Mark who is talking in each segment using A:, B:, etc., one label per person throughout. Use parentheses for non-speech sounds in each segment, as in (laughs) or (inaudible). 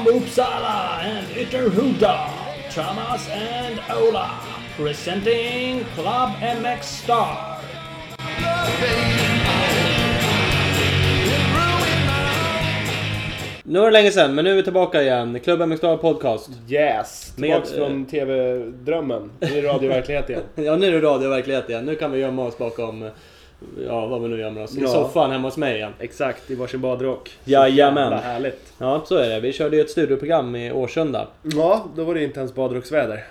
A: Uppsala and Ytterhuda, Thomas and Ola, presenting Club MX Star.
B: Nu var det länge sedan, men nu är vi tillbaka igen. Klubben med Star Podcast.
C: Yes!
B: Med,
C: Tillbaks
B: eh,
C: från TV-drömmen. Det är
B: (laughs)
C: radioverklighet igen.
B: Ja, nu är det radioverklighet igen. Nu kan vi gömma oss bakom, ja, vad vi nu gömmer oss. I
C: Ja.
B: soffan hemma hos mig igen.
C: Exakt, i varsin badrock. Vad
B: Jajamän.
C: härligt.
B: Ja, så är det. Vi körde ju ett studioprogram i Årsunda.
C: Ja, då var det inte ens badrocksväder.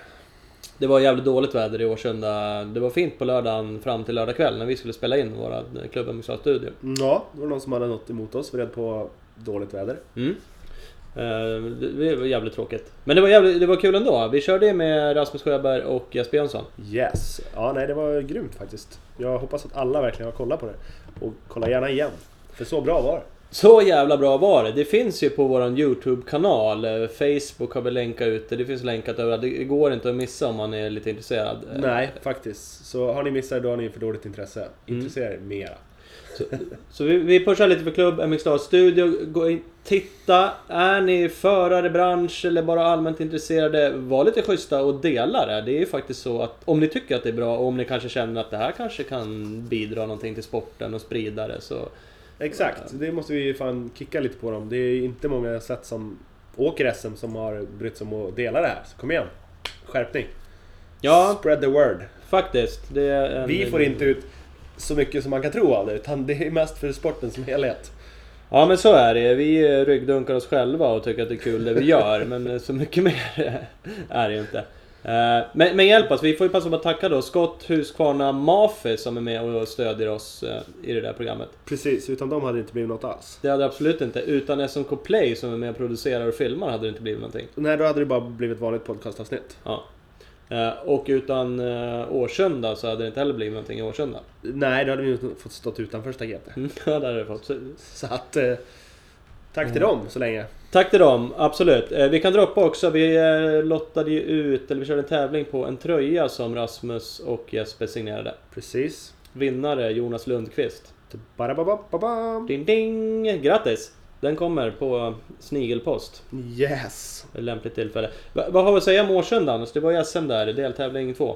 B: Det var jävligt dåligt väder i Årsunda. Det var fint på lördagen fram till lördag kväll när vi skulle spela in våra eh, Klubben med Star studio.
C: Ja, då var det någon som hade något emot oss. Vi red på dåligt väder.
B: Mm. Eh, det- Det var jävligt tråkigt. Men det var, jävligt, det var kul ändå. Vi körde ju med Rasmus Sjöberg och Jesper Jönsson.
C: Yes! Ja, nej, det var grymt faktiskt. Jag hoppas att alla verkligen har kollat på det. Och kolla gärna igen. För så bra var det.
B: Så jävla bra var det. Det finns ju på våran YouTube-kanal. Eh, Facebook har vi länkat ut det. Det finns länkat överallt. Det går inte att missa om man är lite intresserad. Eh,
C: Nej, faktiskt. Så har ni missat idag har ni för dåligt intresse.
B: Mm.
C: Intressera er mera.
B: Så vi, vi pushar lite för klubb, MXDA Studio. Gå in, titta. Är ni förare, bransch eller bara allmänt intresserade? Var lite schyssta och dela det. Det är ju faktiskt så att om ni tycker att det är bra och om ni kanske känner att det här kanske kan bidra någonting till sporten och sprida det så...
C: Exakt, det måste vi ju fan kicka lite på dem. Det är inte många jag sett som åker SM som har brytt sig om att dela det här. Så kom igen! Skärpning!
B: Ja,
C: Spread the word!
B: faktiskt. Det är en...
C: Vi får inte ut så mycket som man kan tro av det, utan det är mest för sporten som helhet.
B: Ja men så är det. Vi eh, ryggdunkar oss själva och tycker att det är kul det vi
C: (laughs)
B: gör. men eh, så mycket mer är det ju inte. Eh, Men, men hjälp oss. Vi får ju passa på att tacka då Scott Husqvarna Mafi som är med och stödjer oss eh, i det där programmet.
C: Precis, utan dem hade det inte blivit något alls.
B: Det hade det absolut inte. Utan SMK Play som är med och producerar och filmar hade det inte blivit någonting.
C: Nej, då hade det bara blivit ett vanligt podcastavsnitt.
B: Ja. Eh, Och utan eh, Årsunda så hade det inte heller blivit någonting i Årsunda. (laughs)
C: Nej, då hade vi ju fått stått utanför staketet.
B: Mm, Ja, det hade det fått. Så,
C: (laughs) Så att... Eh, tack till dem så länge.
B: Tack till dem, absolut. Eh, Vi kan droppa också, vi eh, lottade ju ut, eller vi körde en tävling på en tröja som Rasmus och Jesper signerade.
C: Precis.
B: Vinnare Jonas Lundqvist.
C: Barababababam.
B: Ding ding! Grattis! Den kommer på snigelpost.
C: Yes!
B: Ett Lämpligt tillfälle. Va, vad har vi att säga om Årsunda annars? Det var ju SM där, deltävling 2.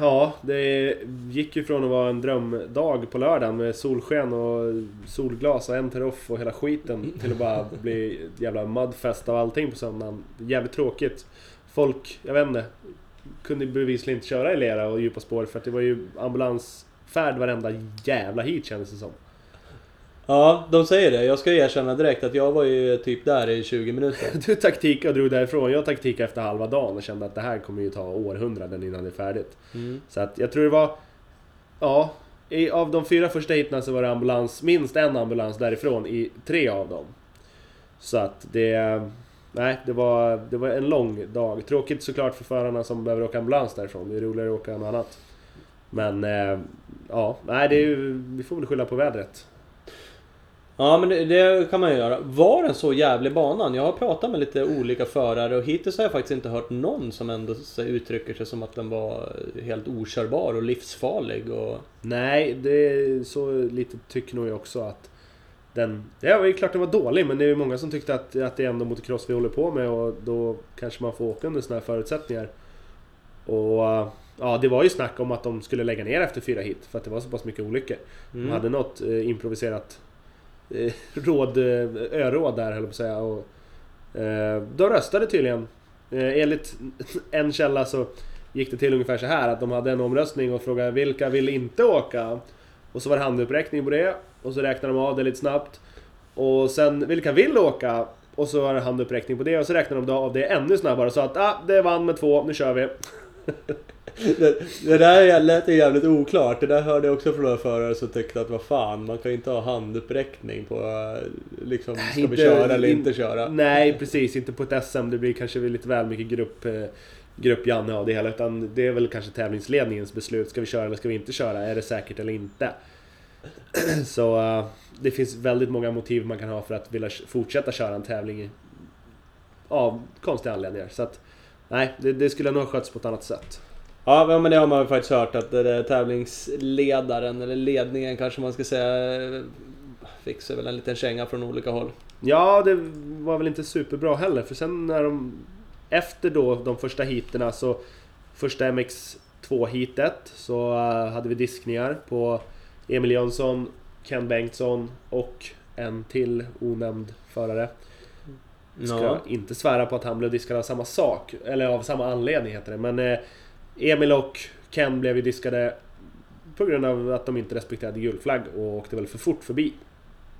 C: Ja, det gick ju från att vara en drömdag på lördagen med solsken och solglas och en terroff och hela skiten till att bara bli ett jävla mudfest av allting på söndagen. Jävligt tråkigt. Folk, jag vet inte, kunde ju bevisligen inte köra i lera och djupa spår för att det var ju ambulansfärd varenda jävla hit kändes det som.
B: Ja, de säger det. Jag ska erkänna direkt att jag var ju typ där i 20 minuter.
C: Du taktika och drog därifrån. Jag taktika efter halva dagen och kände att det här kommer ju ta århundraden innan det är färdigt.
B: Mm.
C: Så att jag tror det var... Ja, i, av de fyra första hiten så var det ambulans, minst en ambulans därifrån i tre av dem. Så att det... Nej, det var, det var en lång dag. Tråkigt såklart för förarna som behöver åka ambulans därifrån. Det är roligare att åka något annat. Men eh, ja, nej, det är ju, vi får väl skylla på vädret.
B: Ja, men det, det kan man ju göra. Var den så jävlig banan? Jag har pratat med lite olika förare och hittills har jag faktiskt inte hört någon som ändå så här uttrycker sig som att den var helt okörbar och livsfarlig. Och...
C: Nej, det är så lite tycker nog jag också att den... Ja, det är klart den var dålig, men det är ju många som tyckte att, att det är ändå motocross vi håller på med och då kanske man får åka under sådana här förutsättningar. Och ja, det var ju snack om att de skulle lägga ner efter fyra hit för att det var så pass mycket olyckor.
B: Mm.
C: De hade något eh, improviserat eh, (laughs) råd, eh, öråd där höll jag på att säga. Och, eh, de röstade tydligen. Eh, enligt (laughs) en källa så gick det till ungefär så här att de hade en omröstning och frågade vilka vill inte åka? Och så var det handuppräckning på det och så räknade de av det lite snabbt. Och sen vilka vill åka? Och så var det handuppräckning på det och så räknade de då av det ännu snabbare och sa att ah, det vann med två, nu kör vi.
B: Det, det där lät ju jävligt oklart. Det där hörde jag också från några förare som tyckte att vad fan, man kan ju inte ha handuppräckning på eh, liksom, ska vi
C: Inte-
B: köra eller
C: in-
B: inte köra.
C: Nej precis, inte på ett SM. Det blir kanske lite väl mycket grupp, eh, grupp-Janne av det hela. Utan det är väl kanske tävlingsledningens beslut. Ska vi köra eller ska vi inte köra? Är det säkert eller inte? (clears throat) Så eh, det finns väldigt många motiv man kan ha för att vilja k- fortsätta köra en tävling av konstiga anledningar. Så att, nej, det, det skulle nog ha skötts på ett annat sätt.
B: Ja, men- men det har man ju faktiskt hört att det där eh, tävlingsledaren, eller ledningen kanske man ska säga, eh, fixar väl en liten känga från olika håll.
C: Ja, det var väl inte superbra heller för sen när de... Efter då de första heaterna så... Första MX2 heatet så eh, hade vi diskningar på Emil Jönsson, Ken Bengtsson och en till onämnd förare. Ska
B: Ja.
C: inte svära på att han blev diskad av samma sak, eller av samma anledning heter det. Men eh, Emil och Ken blev ju diskade på grund av att de inte respekterade gul flagg och åkte väl för fort förbi.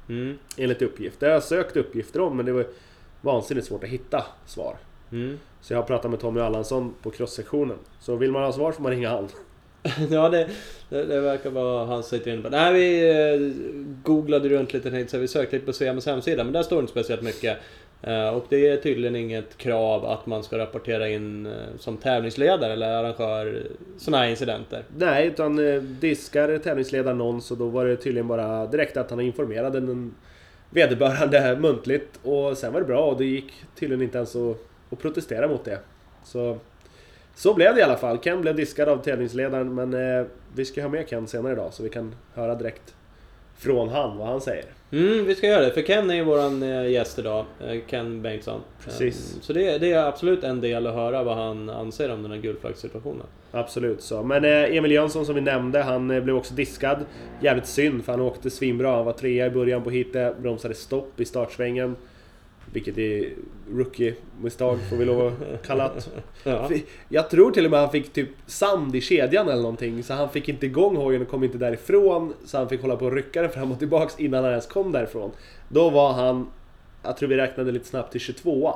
B: Mm.
C: Enligt uppgift. Det har jag sökt uppgifter om men det var vansinnigt svårt att hitta svar.
B: Mm. (laughs)
C: Så jag har pratat med Tommy Allansson på cross-sektionen. Så vill man ha svar får man ringa han.
B: Ja, det, det, det verkar vara han som sitter inne på. Nej, vi eh, googlade runt lite tänkte så här, vi sökte lite på Svemas hemsida, men där står det inte speciellt mycket. Eh, Och det är tydligen inget krav att man ska rapportera in eh, som tävlingsledare eller arrangör sådana här incidenter.
C: (laughs) Nej, utan eh, diskar tävlingsledaren någon så då var det tydligen bara direkt att han informerade den vederbörande muntligt och sen var det bra och det gick tydligen inte ens att, att protestera mot det. Så, så blev det i alla fall. Ken blev diskad av tävlingsledaren men eh, vi ska ha med Ken senare idag så vi kan höra direkt från han vad han säger.
B: Mm, vi ska göra det. För Ken är ju våran eh, gäst idag. eh, Ken Bengtsson.
C: Precis.
B: Eh, Så det, det är absolut en del att höra vad han anser om den här gulflaggssituationen.
C: Absolut så. Men eh, Emil Jönsson som vi nämnde, han eh, blev också diskad. Jävligt synd för han åkte svinbra. Han var trea i början på heatet, bromsade stopp i startsvängen. Vilket är rookie-misstag får vi lov att kalla det.
B: Ja.
C: För Jag tror till och med han fick typ sand i kedjan eller någonting. Så han fick inte igång hojen och kom inte därifrån. Så han fick hålla på och rycka den fram och tillbaks innan han ens kom därifrån. Då var han, jag tror vi räknade lite snabbt till 22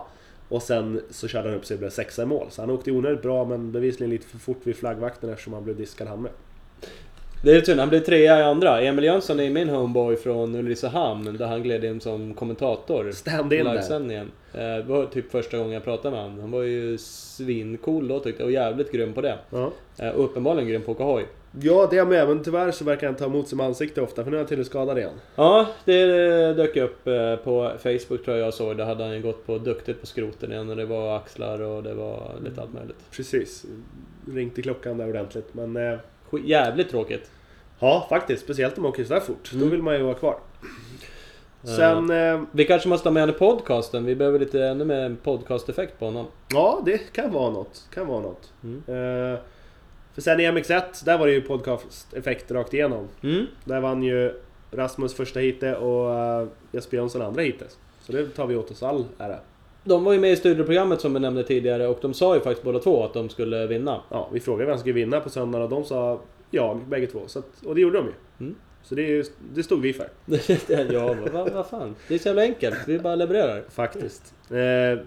C: Och sen så körde han upp sig och blev sexa i mål. Så han åkte onödigt bra men bevisligen lite för fort vid flaggvakten eftersom han blev diskad han med.
B: Det är tur, han blev trea i andra. Emil Jönsson är min homeboy från Ulricehamn där han gled in som kommentator.
C: Stand-in
B: på
C: där.
B: livesändningen. Eh, Det var typ första gången jag pratade med honom. Han var ju svincool då tyckte jag och jävligt grym på det.
C: Ja.
B: Eh, Och uppenbarligen grym på att åka hoj.
C: ja, det är med. Men tyvärr så verkar han ta emot sig med ansikte ofta för nu är han tydligen skadad igen.
B: Ja, det dök upp eh, på Facebook tror jag jag såg. Där hade han ju gått på duktigt på skroten igen och det var axlar och det var lite allt möjligt.
C: Precis. Ringde klockan där ordentligt. Men eh,
B: Sk- Jävligt tråkigt.
C: ja, faktiskt. Speciellt om man åker sådär fort. Då
B: Mm.
C: vill man ju vara kvar. Sen, eh,
B: Vi kanske måste ha med honom i podcasten. Vi behöver lite ännu mer podcast-effekt på honom.
C: ja det kan vara något. Kan vara något.
B: Mm.
C: Eh, för sen i MX1, där var det ju podcast-effekt rakt igenom.
B: Mm.
C: Där vann ju Rasmus första heatet och eh, Jesper Jönsson andra heatet. Så det tar vi åt oss all ära.
B: De var ju med i studioprogrammet som vi nämnde tidigare och de sa ju faktiskt båda två att de skulle vinna. (laughs)
C: Ja, vi frågade vem som skulle vinna på söndagen och de sa jag, bägge två. Så att, och det gjorde de ju.
B: Mm.
C: Så det, är ju- det stod vi för.
B: ja, vad vad fan. Det är så jävla enkelt. Vi bara levererar. (laughs)
C: Faktiskt. Eh,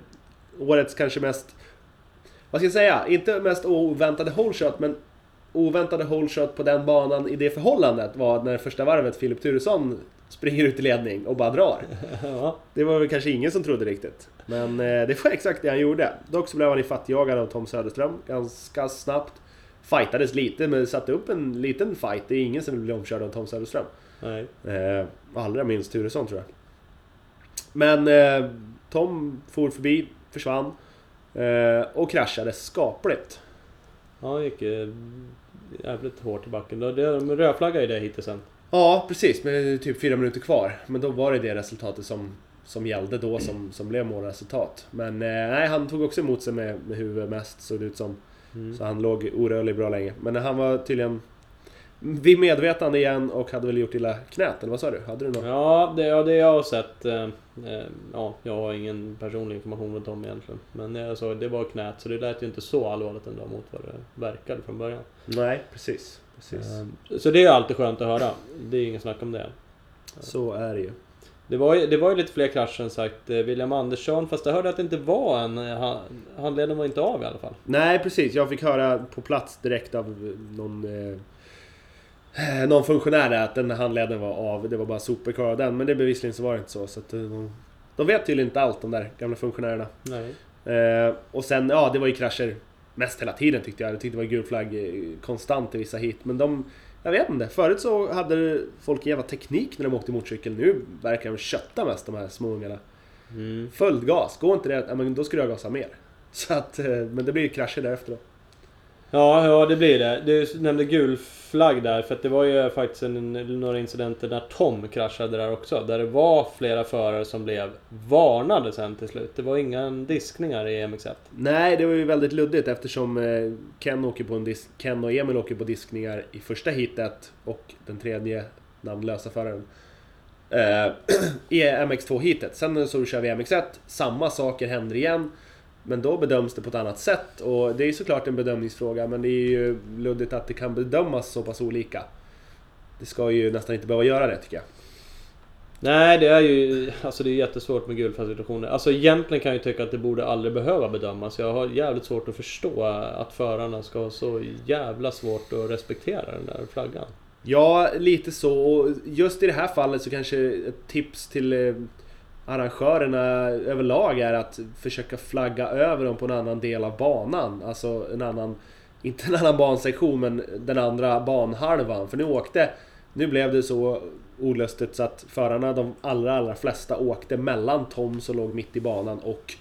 C: årets kanske mest... Vad ska jag säga? Inte mest oväntade holeshot, men oväntade holeshot på den banan i det förhållandet var när första varvet Filip Turesson springer ut i ledning och bara drar.
B: Ja.
C: Det var väl kanske ingen som trodde riktigt. Men eh, det var exakt det han gjorde. Dock så blev han ju fattigjagad av Tom Söderström ganska snabbt. Fightades lite, men satte upp en liten fight. Det är ingen som vill bli omkörd av Tom Söderström.
B: Nej.
C: Eh, allra minst Turesson tror jag. Men eh, Tom for förbi, försvann eh, och kraschade skapligt.
B: Ja, han gick eh, jävligt hårt i backen. Då- det- De rödflaggade ju det hittills sen.
C: Ja, precis. Men det är typ fyra minuter kvar. Men då var det det resultatet som, som gällde då som, som blev målresultat. Men eh, nej, han tog också emot sig med, med huvudet mest såg det ut som.
B: Mm.
C: Så han låg orörlig bra länge. Men han var tydligen vid medvetande igen och hade väl gjort illa knät, eller vad sa du? Hade du något?
B: Ja, det, ja, det jag har sett. eh, eh, Ja, jag har ingen personlig information om Tom egentligen. Men jag såg, det var knät, så det lät ju inte så allvarligt ändå mot vad det verkade från början.
C: Nej, precis. precis.
B: Eh, Så det är ju alltid skönt att höra. Det är inget snack om det.
C: Så är det ju.
B: Det var, ju, det var ju lite fler krascher än sagt. eh, William Andersson, fast jag hörde att det inte var en... eh, han- Handleden var inte av i alla fall.
C: Nej precis, jag fick höra på plats direkt av någon eh, någon funktionär där att den handleden var av, det var bara sopor kvar av den. Men det bevisligen så var det inte så. så att eh, de, de vet tydligen inte allt de där gamla funktionärerna.
B: Nej.
C: Eh, och sen, ja det var ju krascher mest hela tiden tyckte jag. Jag tyckte det var gul flagg eh, konstant i vissa hit. Men de, jag vet inte. Förut så hade folk en jävla teknik när de åkte motorcykel. Nu verkar de kötta mest de här små ungarna.
B: Mm.
C: Följdgas, går inte det, ja, men då skulle jag gasa mer. Så att, eh, men det blir ju krascher därefter då.
B: Ja, ja det blir det. Du nämnde gul flagg där för att det var ju faktiskt en, några incidenter när Tom kraschade där också. Där det var flera förare som blev varnade sen till slut. Det var inga diskningar i MX1.
C: Nej, det var ju väldigt luddigt eftersom eh, Ken, åker på en disk, Ken och Emil åker på diskningar i första hitet och den tredje namnlösa föraren. Eh, (clears throat) I MX2-hitet. Sen så kör vi MX1, samma saker händer igen. Men då bedöms det på ett annat sätt och det är ju såklart en bedömningsfråga men det är ju luddigt att det kan bedömas så pass olika. Det ska ju nästan inte behöva göra det tycker jag.
B: Nej, det är ju alltså det är jättesvårt med gulflaggssituationer. Alltså egentligen kan jag ju tycka att det borde aldrig behöva bedömas. Jag har jävligt svårt att förstå att förarna ska ha så jävla svårt att respektera den där flaggan.
C: Ja, lite så. Och just i det här fallet så kanske ett tips till eh, arrangörerna överlag är att försöka flagga över dem på en annan del av banan. Alltså en annan, inte en annan bansektion men den andra banhalvan. För nu åkte, nu blev det så olustigt så att förarna, de allra allra flesta åkte mellan Tom som låg mitt i banan och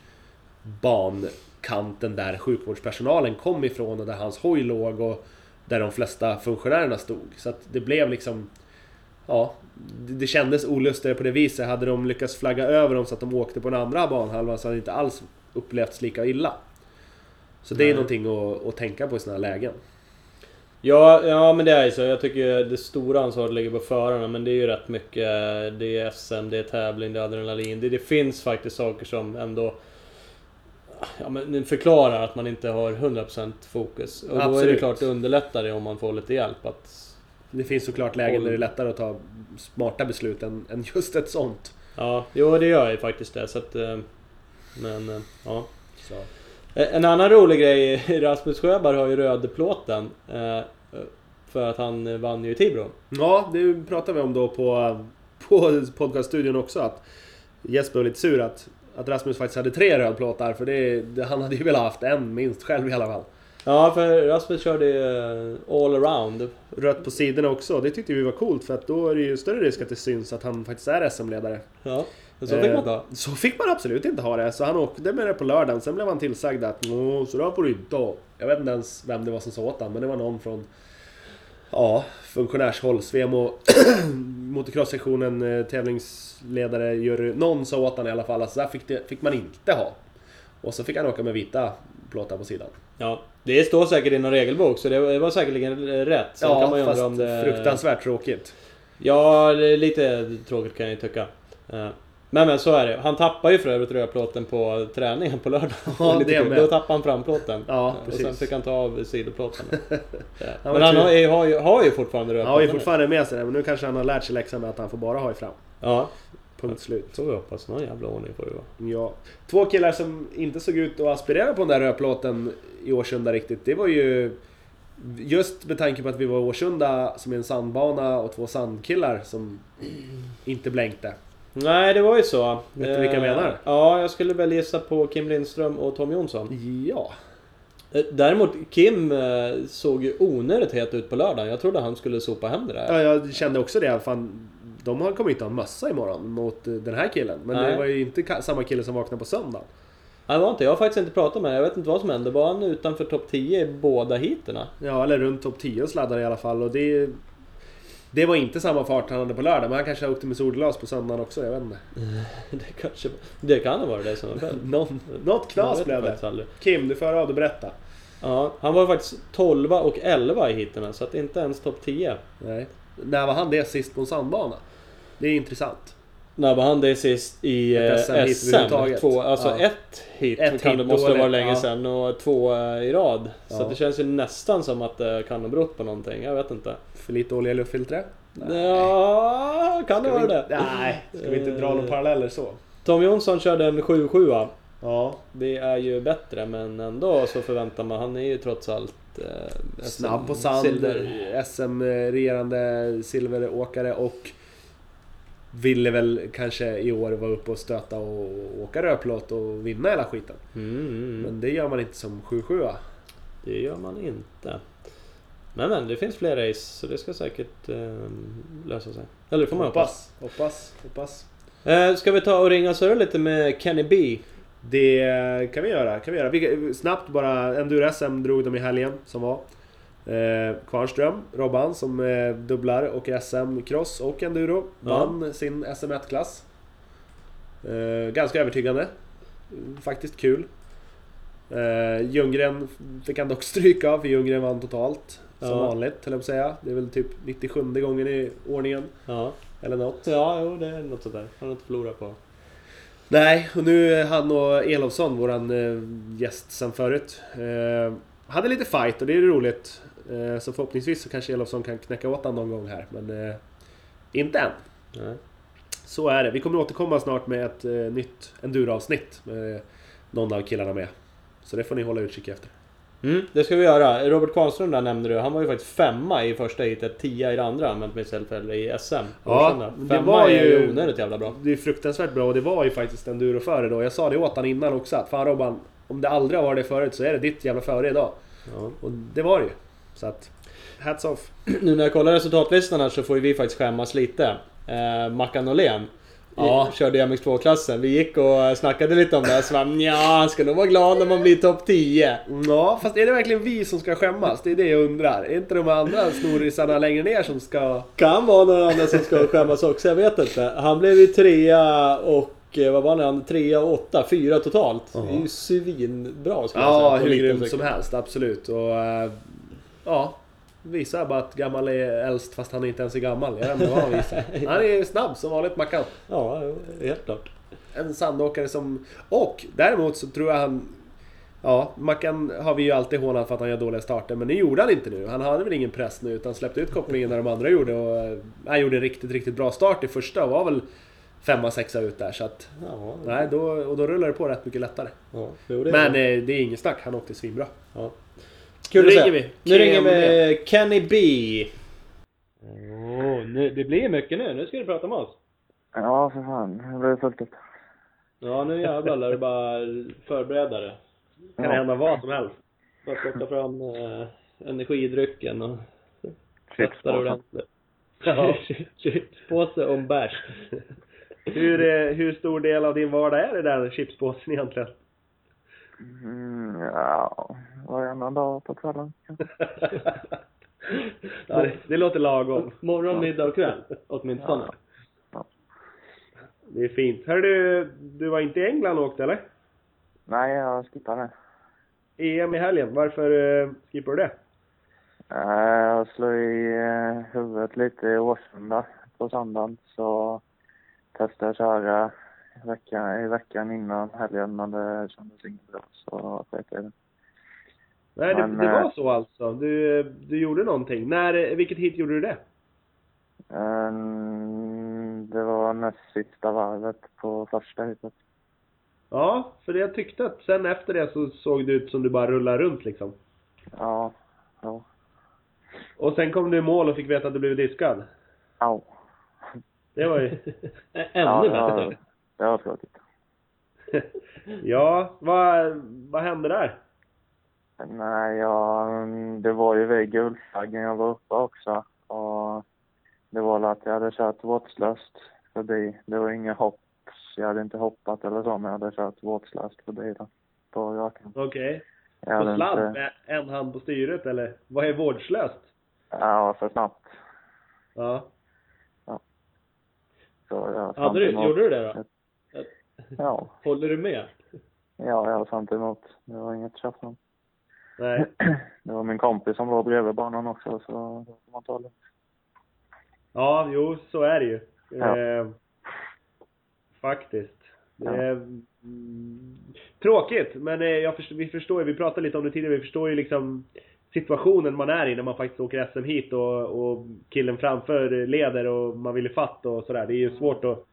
C: bankanten där sjukvårdspersonalen kom ifrån och där hans hoj låg och där de flesta funktionärerna stod. Så att det blev liksom... Ja, det det kändes olustigare på det viset. Hade de lyckats flagga över dem så att de åkte på den andra banhalvan så hade det inte alls upplevts lika illa. Så det är
B: Nej.
C: någonting att, att tänka på i sådana här lägen.
B: Ja, ja men det är ju så. Jag tycker ju det stora ansvaret ligger på förarna men det är ju rätt mycket. Det är SM, det är tävling, det är adrenalin. Det, det finns faktiskt saker som ändå ja, men det förklarar att man inte har 100% fokus. Och då är det
C: Absolut.
B: klart det underlättar det om man får lite hjälp att
C: Det finns såklart lägen där det är lättare att ta smarta beslut än, än just ett sånt.
B: Ja, jo det gör jag ju faktiskt det. Så att, eh, men eh, ja.
C: Så.
B: Eh, En annan rolig grej, (laughs) Rasmus Sjöberg har ju rödplåten. eh, För att han eh, vann ju i Tibro.
C: Ja, det pratade vi om då på, på podcaststudion också att Jesper var lite sur att, att Rasmus faktiskt hade tre rödplåtar för det, det, han hade ju velat haft en minst själv i alla fall.
B: Ja, för Rasmus körde ju eh, all around.
C: Rött på sidorna också, det tyckte vi var coolt för att då är det ju större risk att det syns att han faktiskt är SM-ledare.
B: Ja, men så fick man ta.
C: Eh, Så fick man absolut inte ha det, så han åkte med det på lördagen. Sen blev han tillsagd att "Nå, så där får du inte ha." Jag vet inte ens vem det var som sa åt honom, men det var någon från ja, funktionärshåll, Svemo, (clears throat) motocross-sektionen, eh, tävlingsledare, jury. Någon sa åt honom i alla fall att så där fick, det, fick man inte ha. Och så fick han åka med vita plåtar på sidan.
B: Ja, det står säkert i någon regelbok så det var- det var säkerligen eh, rätt. Sen kan man ju undra om det...
C: fruktansvärt tråkigt.
B: Ja, det är lite tråkigt kan jag ju tycka. Eh, Men men så är det. Han tappar ju för övrigt rödplåten på träningen på lördag. (laughs)
C: Ja,
B: Lite
C: det
B: kul.
C: med.
B: Då tappar han framplåten. Eh,
C: Ja,
B: och sen
C: precis.
B: fick han ta av
C: (laughs)
B: sidoplåten. Ja.
C: var
B: men han
C: tur.
B: har ju, har, ju, har ju fortfarande
C: Han
B: rödplåten.
C: har ju fortfarande med sig det, men nu kanske han har lärt sig läxan med att han får bara ha i fram.
B: Ja,
C: Punkt slut.
B: så vi hoppas. Någon jävla ordning får det vara.
C: Ja. Två killar som inte såg ut att aspirera på den där rödplåten i Årsunda riktigt. Det var ju just med tanke på att vi var i Årsunda som är en sandbana och två sandkillar som inte blänkte.
B: Nej, det var ju så.
C: Vet du vilka jag menar?
B: Eh, Ja, jag skulle väl gissa på Kim Lindström och Tom Jonsson.
C: Ja.
B: Eh, Däremot, Kim eh, såg ju onödigt het ut på lördagen. Jag trodde han skulle sopa hem det där.
C: ja, jag kände också det. Fan, de har- kommer inte ha en mössa imorgon mot eh, den här killen. Men
B: Nej.
C: det var ju inte ka- samma kille som vaknade på söndagen.
B: Nej, det var inte. Jag har faktiskt inte pratat med honom. Jag vet inte vad som hände. Var han utanför topp 10 i båda heaterna? (laughs)
C: Ja, eller runt topp 10 och sladdade i alla fall. Och det, det var inte samma fart han hade på lördag, men han kanske åkte med solglas på söndagen också. Jag vet inte.
B: Det kanske Det kan ha varit det som var fel.
C: Någon, (laughs) något
B: Jag
C: knas
B: vet
C: blev det.
B: faktiskt aldrig.
C: Kim, du får höra av dig berätta.
B: Ja, han var faktiskt 12 och 11 i heaterna, så att inte ens topp 10.
C: Nej. När var han det sist på en sandbana? Det är intressant.
B: När var han det sist i eh,
C: Ett SM hit
B: SM?
C: överhuvudtaget.
B: Två, alltså
C: Ja.
B: ett hit
C: Ett
B: kan
C: hit
B: det måste det
C: dåligt,
B: vara länge
C: ja.
B: sedan och två eh, i rad. Så
C: Ja.
B: att det känns ju nästan som att det kan ha berott på någonting. Jag vet inte.
C: För lite olja i luftfiltret?
B: Ja, kan det
C: Ska vi
B: vara
C: inte-
B: det?
C: Nej, ska vi inte dra några
B: Eh.
C: paralleller så?
B: Tom Jonsson körde en 7-7.
C: Ja,
B: Det är ju bättre men ändå så förväntar man, han är ju trots allt eh,
C: snabb på
B: SM
C: sand,
B: silver.
C: SM-regerande silveråkare och ville väl kanske i år vara uppe och stöta och åka rödplåt och vinna hela skiten.
B: Mm, mm, mm.
C: Men det gör man inte som 7-7 a.
B: Det gör man inte. Men men, det finns fler race så det ska säkert eh, lösa sig. Eller det får man hoppas.
C: hoppas, hoppas. hoppas.
B: Eh, ska vi ta och ringa och surra lite med Kenny B?
C: Det kan vi göra. Kan vi göra. Vilka, snabbt bara, Enduro-SM drog de i helgen som var. Eh, Kvarnström, Robban som eh, dubblar och i SM-cross och enduro
B: Ja.
C: vann sin SM1-klass. Eh, ganska övertygande. Mm, Faktiskt kul. Eh, Ljunggren fick han dock stryka av för Ljunggren vann totalt. Som
B: Ja.
C: vanligt, höll jag på att säga. Det är väl typ 97 gången i ordningen.
B: Ja.
C: Eller något.
B: ja, jo det är något sådär. Har något att förlora på.
C: Nej, och nu är han och Elofsson, våran eh, gäst sen förut. Eh, hade lite fight och det är ju roligt. Eh, så förhoppningsvis så kanske Elofsson kan knäcka åt honom någon gång här, men eh, inte än.
B: Nej.
C: Så är det. Vi kommer återkomma snart med ett eh, nytt enduro-avsnitt med någon av killarna med. Så det får ni hålla utkik efter.
B: Mm, det ska vi göra. Robert Karlström där nämnde du. Han var ju faktiskt femma i första heatet, tia i det andra om jag inte minns helt fel, i SM.
C: Ja, det
B: femma
C: var
B: är
C: ju-
B: ju onödigt jävla bra.
C: Det är fruktansvärt bra och det var ju faktiskt enduro-före då. Jag sa det åt han innan också att Fan Robban, om det aldrig har varit det förut så är det ditt jävla före idag.
B: Ja.
C: Och det var det ju. Så att, hats off.
B: Nu när jag kollar resultatlistan här så får ju vi faktiskt skämmas lite. Eh, Mackan Åhlén.
C: Ja.
B: Ja. Körde i MX2-klassen. Vi gick och snackade lite om det. Så bara, "Nja, han ska nog vara glad när man blir topp 10.
C: Ja, fast är det verkligen vi som ska skämmas? Det är det jag undrar. Är inte de andra snorisarna längre ner som ska...
B: Kan vara några andra som ska skämmas också, jag vet inte. Han blev ju trea och eh, vad var han? Trea och åtta, fyra totalt. Det är ju svinbra skulle jag
C: Ja,
B: säga. på
C: hur
B: liten
C: grymt
B: cykel.
C: som helst, absolut. Och eh, ja, visar bara att gammal är äldst fast han inte ens är gammal. Jag vet inte vad han visar. Han är snabb som vanligt Mackan.
B: Ja, jo, helt klart.
C: En sandåkare som... Och däremot så tror jag han... Ja, Mackan har vi ju alltid hånat för att han gör dåliga starter, men det gjorde han inte nu. Han hade väl ingen press nu, utan släppte ut kopplingen när de andra gjorde och... eh, Han gjorde en riktigt, riktigt bra start i första och var väl femma, sexa ut där, så att...
B: Ja,
C: Nej, då, och då rullar det på rätt mycket lättare.
B: ja, jo, det är
C: Men
B: bra.
C: eh, det är inget snack, han åkte svinbra.
B: ja. Kul
C: nu
B: att se.
C: ringer vi.
B: Nu ringer
C: Kenny
B: vi Kenny B. Oh, nu, det blir mycket nu. Nu ska du prata med oss.
D: Ja, för fan. Det blev fullt upp.
B: Ja, nu jävlar lär du bara förbereda dig.
C: Kan det hända vad som helst.
B: Bara plocka fram eh, energidrycken och tvätta ordentligt.
C: Ja.
B: Chipspåse och en bärs.
C: Hur, eh, hur stor del av din vardag är det där chipspåsen (laughs) egentligen?
D: Mm, ja, varannan dag på kvällen.
C: ja, det, det låter lagom.
B: Morgon, middag och kväll. Åtminstone.
C: Det är fint. Hör du, du var inte i England och åkte eller?
D: Nej, jag skippar det.
C: EM i helgen, varför eh, skippar du det?
D: Eh, Jag slog i eh, huvudet lite i Årsunda på söndagen, så testade jag köra i veckan, i veckan innan helgen, men det kändes inget bra, så sket jag i det.
C: Nej, det,
D: Men,
C: det var
D: eh,
C: så alltså. Du, eh, du gjorde någonting. När, eh, vilket hit gjorde du det?
D: Ehm, Det var näst sista varvet på första hitet.
C: Ja, för jag tyckte att sen efter det så såg det ut som du bara rullade runt liksom.
D: Ja, ja,
C: Och sen kom du i mål och fick veta att du blev diskad.
D: au.
C: Det var ju...
B: Ä-
D: Ja,
B: Ännu
D: det
B: bättre.
D: var- det var tråkigt.
C: (laughs) Ja, vad, vad hände där?
D: Nej, ja, mm, det var ju vid gulflaggen jag var uppe också. Och det var väl att jag hade kört vårdslöst förbi. Det var inga hopp. så Jag hade inte hoppat eller så, men jag hade kört vårdslöst förbi då. På rakan.
C: Okej.
D: Jag hade
C: På sladd
D: inte-
C: med en hand på styret eller? Vad är vårdslöst?
D: Ja, för snabbt.
C: Ja.
D: Så jag
B: Hade du,
D: emot.
B: gjorde du det då?
D: Ja,
B: Håller du med?
D: ja, jag sant emot. Det var inget tjafs om. (clears throat)
C: Nej.
D: Det var min kompis som var bredvid banan också, så då får man ta det.
C: Ja, jo, så är det ju.
D: Ja.
C: Eh, faktiskt. Det
D: Ja.
C: är, mm, tråkigt, men eh, jag förstår, vi förstår ju, vi pratade lite om det tidigare, vi förstår ju liksom situationen man är i när man faktiskt åker SM hit och, och killen framför leder och man vill fatt och sådär. Det är
D: Mm.
C: ju svårt att,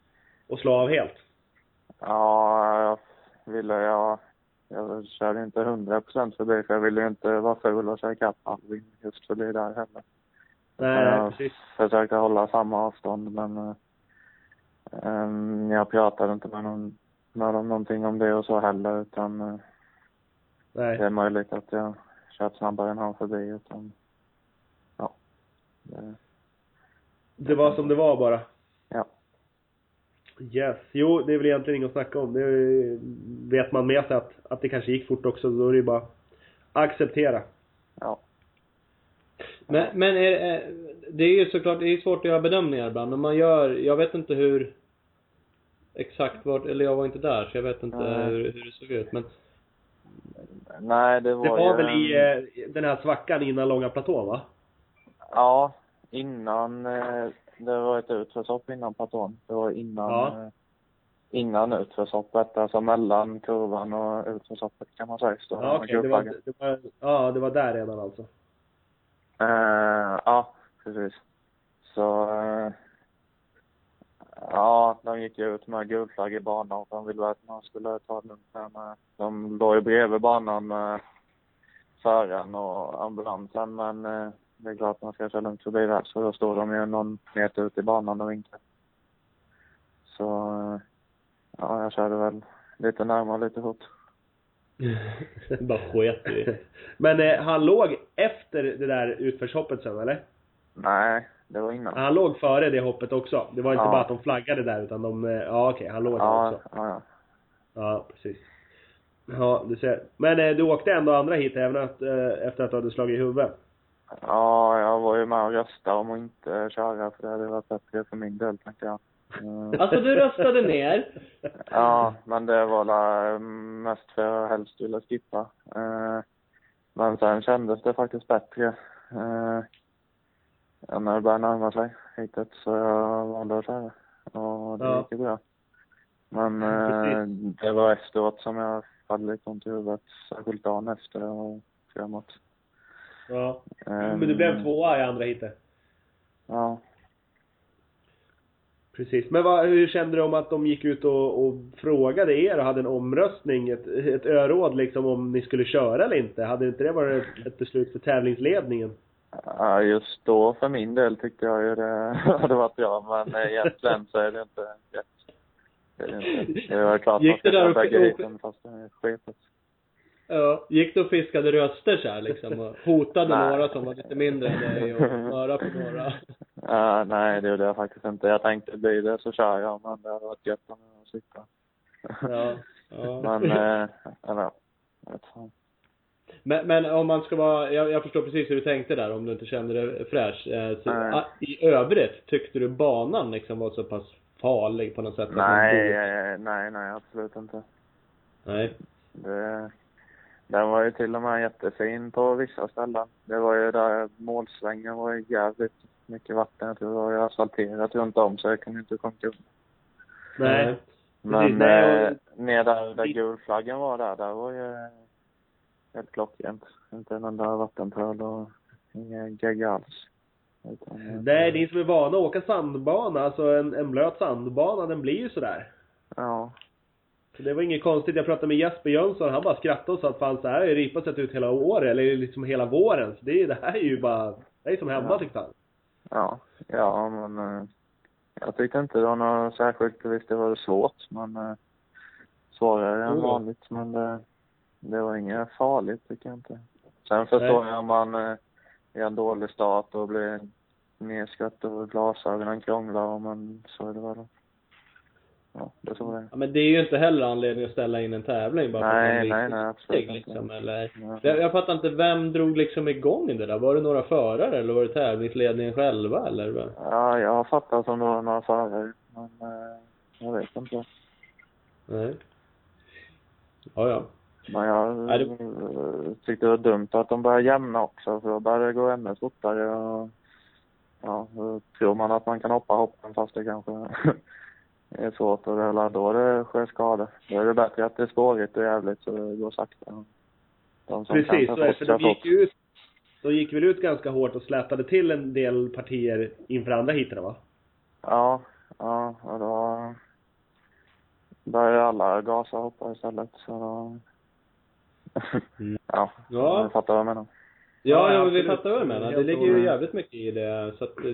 C: att slå av helt.
D: Ja, jag ville jag... Jag körde inte 100 procent förbi för jag ville ju inte vara ful och köra ikapp Alvin just förbi där heller.
C: Nej,
D: jag
C: precis.
D: försökte hålla samma avstånd men eh, em, jag pratade inte med, någon, med dem någonting om det och så heller utan eh, det
C: Nej.
D: är möjligt att jag kört snabbare än han förbi utan ja. Det,
C: Det var som det var bara.
D: ja.
C: Yes, jo det är väl egentligen inget att snacka om. Det är- vet man med sig att, att det kanske gick fort också. Då är det ju bara att acceptera.
D: Ja.
B: Men, men är, är, eh, det är ju såklart det är svårt att göra bedömningar ibland. Men man gör, jag vet inte hur exakt vart, eller jag var inte där så jag vet inte
D: Nej.
B: hur, hur det såg ut. Men
D: Nej, det var
C: Det var
D: ju
C: väl i eh, den här svackan innan långa platån va?
D: Ja, innan eh, det var ett utförshopp innan platån. Det var innan,
C: Ja.
D: eh, innan utförshoppet, alltså mellan kurvan och utförshoppet kan man säga. Så
C: Ja, okej. det, var, det, var, ja det var där redan (laughs) alltså.
D: Eh, ja, precis. Så... Eh, ja, de gick ju ut med gul flagg i banan. De ville att man skulle ta det lugnt. Men eh, de låg ju bredvid banan med föraren och ambulansen. Men eh, det är klart att man ska köra lugnt förbi där. Så då står de ju någon meter ut i banan och vinkar. Så... Eh, ja, jag körde väl lite närmare lite fort.
B: bara sket i det.
C: (laughs) Men eh, han låg efter det där utförshoppet sen eller?
D: Nej, det var innan.
C: Han låg före det hoppet också. Det var inte
D: Ja.
C: bara att de flaggade där utan de, eh, ja okej, han låg där
D: Ja,
C: också.
D: ja, ja.
C: Ja, precis. Ja, du ser. Men eh, du åkte ändå andra hit även att, eh, efter att du hade slagit i huvudet?
D: Ja, jag var ju med och röstade om att inte köra för det hade varit bättre för min del tänkte jag.
C: (laughs)
D: Mm.
B: Alltså du röstade ner.
D: (laughs) Ja, men det var la- mest för jag helst ville skippa. Eh, Men sen kändes det faktiskt bättre eh, ja, när det började närma sig hitet så jag valde att köra. Och det
C: Ja.
D: gick ju bra. Men eh,
C: (laughs) Precis.
D: det var efteråt som jag hade lite ont i huvudet, särskilt dagen efter och framåt.
C: Ja.
D: Eh,
C: Men du blev tvåa i andra hitet?
D: Ja.
C: Precis. Men vad, hur kände du om att de gick ut och, och frågade er och hade en omröstning, ett, ett öråd liksom om ni skulle köra eller inte? Hade inte det varit ett, ett beslut för tävlingsledningen?
D: Ja, just då för min del tyckte jag ju det (laughs) hade varit bra, men eh, egentligen så är det inte rätt. Det är det inte. Det var klart att man
B: Gick
D: ska
B: det där
D: köra
B: och-
D: bägge hiten fast det är skepet.
B: Ja. Gick du och fiskade röster så här liksom och hotade
D: (laughs) Nej.
B: några som var lite mindre än dig och (laughs) snöra på några.
D: Ja, nej, det gjorde jag faktiskt inte. Jag tänkte blir det så kör jag, men det hade varit gött om jag slippa.
C: Ja.
B: Ja.
D: (laughs) Men, eh, eller ja, jag vet fan.
B: Men, men om man ska vara, jag, jag förstår precis hur du tänkte där om du inte kände dig fräsch. Eh, Så,
D: Nej.
B: ah, I övrigt, tyckte du banan liksom var så pass farlig på något sätt? att man
D: Nej,
B: borde-
D: eh, nej, nej, absolut inte.
B: Nej.
D: Det, den var ju till och med jättefin på vissa ställen. Det var ju där målsvängen var ju jävligt mycket vatten. Jag tror det var ju asfalterat runt om så jag kunde inte komma upp.
C: Nej.
D: Men
C: Precis, nej, och-
D: eh, ner där, där gulflaggen var där, där var ju helt klockrent. Inte en enda vattenpöl och inga gegga alls. Utan, eh,
C: Nej,
B: Mm.
C: ni som är vana att åka sandbana, alltså en, en blöt sandbana, den blir ju sådär.
D: Ja.
C: Så det var inget konstigt. Jag pratade med Jesper Jönsson, han bara skrattade och sa att fan så här har ju ripa sett ut hela året, eller liksom hela våren. Så det, är- det här är ju bara, det är som hemma
D: Ja.
C: tyckte han.
D: Ja, ja men eh, jag tyckte inte det var något särskilt. Visst, det var svårt, men eh, svårare än
B: Jo då.
D: vanligt. Men det, det var inget farligt, tycker jag inte. Sen förstår
C: Nej.
D: jag om man eh, är en dålig start och blir nedskött och glasögonen krånglar, och men så är det väl. Ja, det tror jag.
B: Ja, men det är ju inte heller anledning att ställa in en tävling bara för att den
D: Nej, nej,
B: blir
D: nej,
B: skitig,
D: absolut inte.
B: liksom, eller...
D: Nej.
B: jag, jag fattar inte, vem drog liksom igång det där? Var det några förare eller var det tävlingsledningen själva eller? vad?
D: Ja, jag har fattat som det var några förare, men eh, jag vet inte.
B: Nej. Ja, ja.
D: Men jag
B: Ja, det-
D: eh, tyckte det var dumt att de började jämna också för då började det gå ännu fortare. Och, ja, då tror man att man kan hoppa hoppen fast det kanske (laughs) är svårt och det är väl då det sker skador. Då är det bättre att det är spårigt och jävligt så det går sakta. De som
C: Precis,
D: kan
C: så är det. För
D: kör
C: de gick ju ut, de gick väl ut ganska hårt och slätade till en del partier inför andra heaten va?
D: Ja, ja, och då började alla gasa och hoppa istället så då... (laughs)
C: Mm.
D: ja,
B: Ja.
D: jag fattar vad jag menar.
B: Ja,
C: Ja,
B: ja, vi
C: absolut.
B: fattar vad du menar. Det
C: Helt
B: ligger ju
D: ordentligt.
B: jävligt mycket i det. Så att, eh,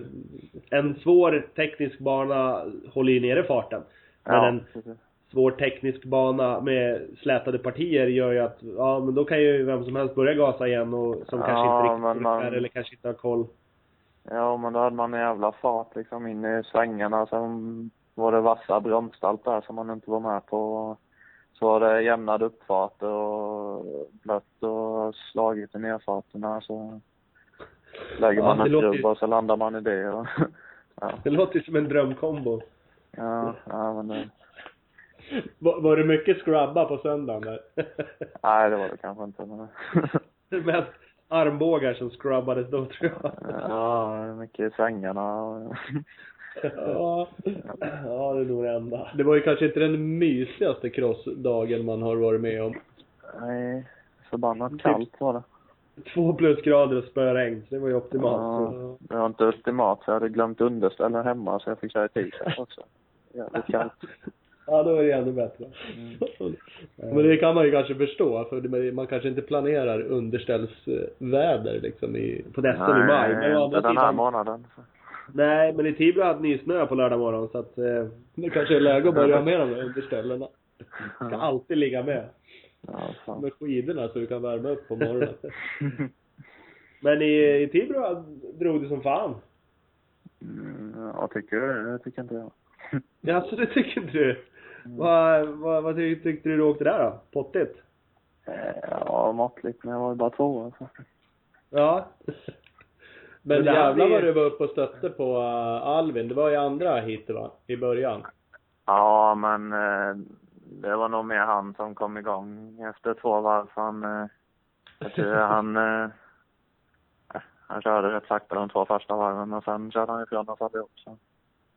C: En svår teknisk bana håller ju nere farten. Men
D: Ja,
C: en
D: precis.
C: svår teknisk bana med slätade partier gör ju att, ja men då kan ju vem som helst börja gasa igen och som
D: Ja,
C: kanske inte
D: men
C: riktigt
D: man-
C: orkar eller kanske inte har koll.
D: Ja, men då hade man en jävla fart liksom in i svängarna. Sen var det vassa bromsstall där som man inte var med på. Så var det jämnade uppfarter och blött och slagit i nerfarterna. Så lägger
C: Ja,
D: man
C: det
D: en
C: låter ju-
D: skrubb och så landar man i det. (laughs) Och, ja,
C: Det låter ju som en drömkombo.
D: ja, ja, men det,
B: Var, var det mycket scrubba på söndagen
C: (laughs)
B: där?
D: nej, det var det kanske inte. Men, (laughs)
C: Med armbågar som scrubbades då tror jag.
D: ja, mycket i sängarna. och-
B: Ja.
C: Ja, det är nog det enda.
B: Det var ju kanske inte den mysigaste crossdagen man har varit med om.
D: Nej,
C: typ-
D: förbannat kallt var det.
C: (laughs) Två plusgrader och spöregn, så det var ju optimalt.
D: Ja, det var inte ultimat för jag hade glömt underställa hemma så jag fick köra i (laughs) t-shirt också. Jävligt kallt.
C: Ja, då är det ännu bättre.
D: Mm.
B: Men det kan man ju kanske förstå, för det- man kanske inte planerar underställsväder liksom i...
C: På Dessel i maj. Men å
D: inte
C: andra
D: den här
C: sidan,
D: månaden.
C: nej, men i Tibro hade ni snö på lördag morgon så att... Eh,
B: Det kanske är läge att börja med de där underställena.
C: ska alltid ligga med.
D: Ja, fan.
B: Med skidorna så du kan värma upp på
C: (laughs)
B: morgonen.
C: Men i, i Tibro drog det som fan.
D: Mm, jag tycker det. Det tycker inte jag.
C: Jaså, det tycker inte du? Mm. Vad, vad, vad ty- tyckte du du åkte där då? Pottigt?
D: Eh, Ja, måttligt, men jag var ju bara två alltså. år. Så.
C: (laughs) Ja.
B: Men
C: Det här
B: jävlar
C: blir-
B: vad du var uppe och stötte på eh, Alvin. Det var i andra hit va? I början.
D: Ja, men eh, det var nog mer han som kom igång efter två varv. så Han, eh, jag tror han, eh, han körde rätt sakta de två första varven och sen körde han ifrån oss allihop. Så.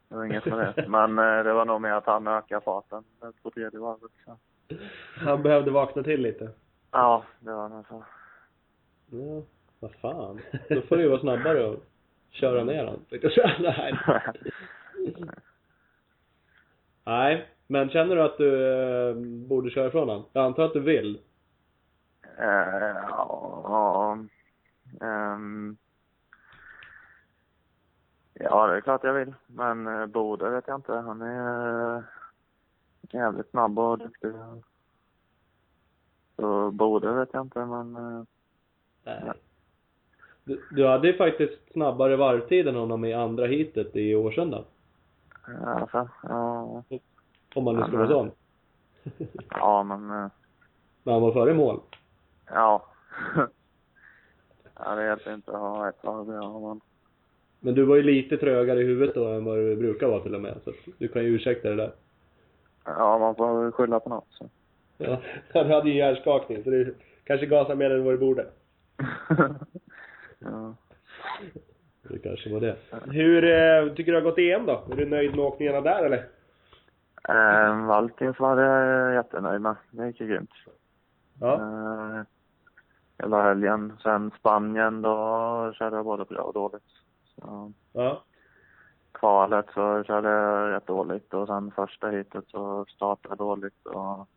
D: Det var inget med det. Men eh, det var nog mer att han ökade farten på tredje varvet. Så.
C: Han behövde vakna till lite.
D: Ja, det var nog så.
B: Ja, vad fan. Då får du ju vara snabbare och köra ner
C: (laughs)
B: honom. tänkte jag säga. Nej. Nej, men känner du att du eh, borde köra ifrån honom? Jag antar att du vill?
D: Eh, ja, ja. Ehm. ja, det är klart jag vill. Men eh, Bode vet jag inte. Han är eh, jävligt snabb och duktig. Så Bode vet jag inte, men... eh,
B: Nej. Du, du hade ju faktiskt snabbare varvtid än honom i andra hitet i Årsunda.
D: Alltså, ja,
B: Om man nu ska vara sån.
D: ja, men... eh,
B: När han var före
C: (laughs)
B: mål.
D: Ja. (laughs) ja, det hjälper inte att ha ett lag bra om man...
B: Men du var ju lite trögare i huvudet då än vad du brukar vara till och med. Så att du kan ju ursäkta det där.
D: Ja, man får väl skylla på något. Så. (laughs)
C: Ja. Han hade ju hjärnskakning så du kanske gasade mer än vad du borde.
D: ja.
B: Det kanske var det.
C: Hur eh, tycker du har gått EM då? Är du nöjd med åkningarna där eller?
D: Eh, Valkins var jag jättenöjd med. Det gick ju grymt.
C: Ja.
D: Eh, hela helgen. Sen Spanien, då körde jag både bra och dåligt. Så,
C: ja.
D: kvalet så körde jag rätt dåligt och sen första hitet så startade jag dåligt och